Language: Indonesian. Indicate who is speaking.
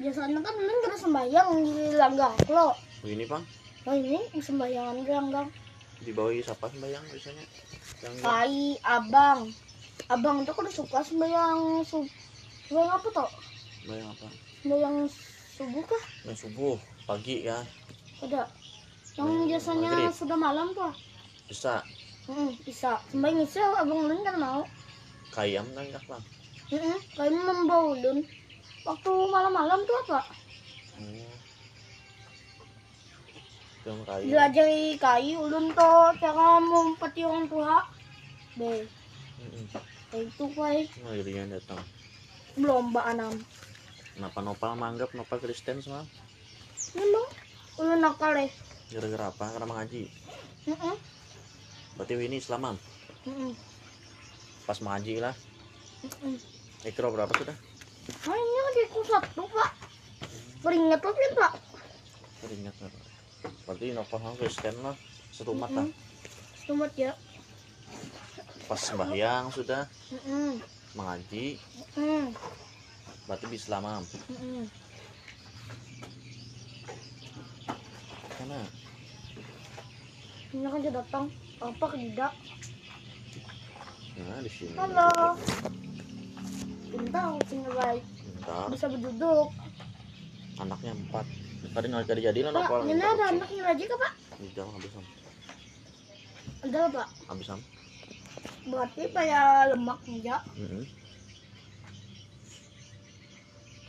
Speaker 1: biasanya kan Min terus sembayang di langgang lo
Speaker 2: Begini Bang,
Speaker 1: nah ini sembayangan di langgang
Speaker 2: di bawah siapa sembayang biasanya? Yang
Speaker 1: kai abang abang itu kudu suka sembayang sub sembayang apa toh
Speaker 2: sembayang apa?
Speaker 1: sembayang subuh kah
Speaker 2: Yang subuh, pagi ya.
Speaker 1: ada yang biasanya
Speaker 2: Maghrib.
Speaker 1: sudah malam tuh
Speaker 2: Bisa
Speaker 1: hmm, bisa sembayang isya abang Min kan mau
Speaker 2: kayam ya, nangkap Bang.
Speaker 1: hmm, kain membaulun waktu malam-malam tuh apa
Speaker 2: Hmm. Yang kayam.
Speaker 1: Jelajari kai ulun to cara mumpeti orang tua. Be,
Speaker 2: Heeh.
Speaker 1: itu kai
Speaker 2: Ngalian Oh, iya, datang.
Speaker 1: lomba anam.
Speaker 2: Kenapa Nopal manggap Nopal Kristen semua?
Speaker 1: Nembang ulun nakal eh.
Speaker 2: Gara-gara apa? Karena mengaji.
Speaker 1: Heeh.
Speaker 2: Berarti Winnie Islaman.
Speaker 1: Heeh.
Speaker 2: Pas mengaji lah.
Speaker 1: Heeh.
Speaker 2: Ikro berapa sudah?
Speaker 1: Hanya di satu, Pak. Beringat tapi, Pak.
Speaker 2: Teringat berapa? Berarti Nopal sama Kristen lah. Satu umat lah.
Speaker 1: Selamat ya.
Speaker 2: Pas sembahyang sudah
Speaker 1: Heeh.
Speaker 2: mengaji.
Speaker 1: Heeh.
Speaker 2: Berarti bisa lama.
Speaker 1: Heeh.
Speaker 2: Karena
Speaker 1: Ini kan dia datang. Apa tidak?
Speaker 2: nah di sini.
Speaker 1: Halo. Bentar, sini baik.
Speaker 2: Bentar.
Speaker 1: Bisa berduduk.
Speaker 2: Anaknya empat. Tadi nggak jadi jadi lah
Speaker 1: Pak,
Speaker 2: Nopal.
Speaker 1: ini ada anak yang rajin, Pak?
Speaker 2: Di jalan habis am.
Speaker 1: Ada, Pak.
Speaker 2: Habis am.
Speaker 1: Berarti kayak lemak enggak?
Speaker 2: Mm-mm.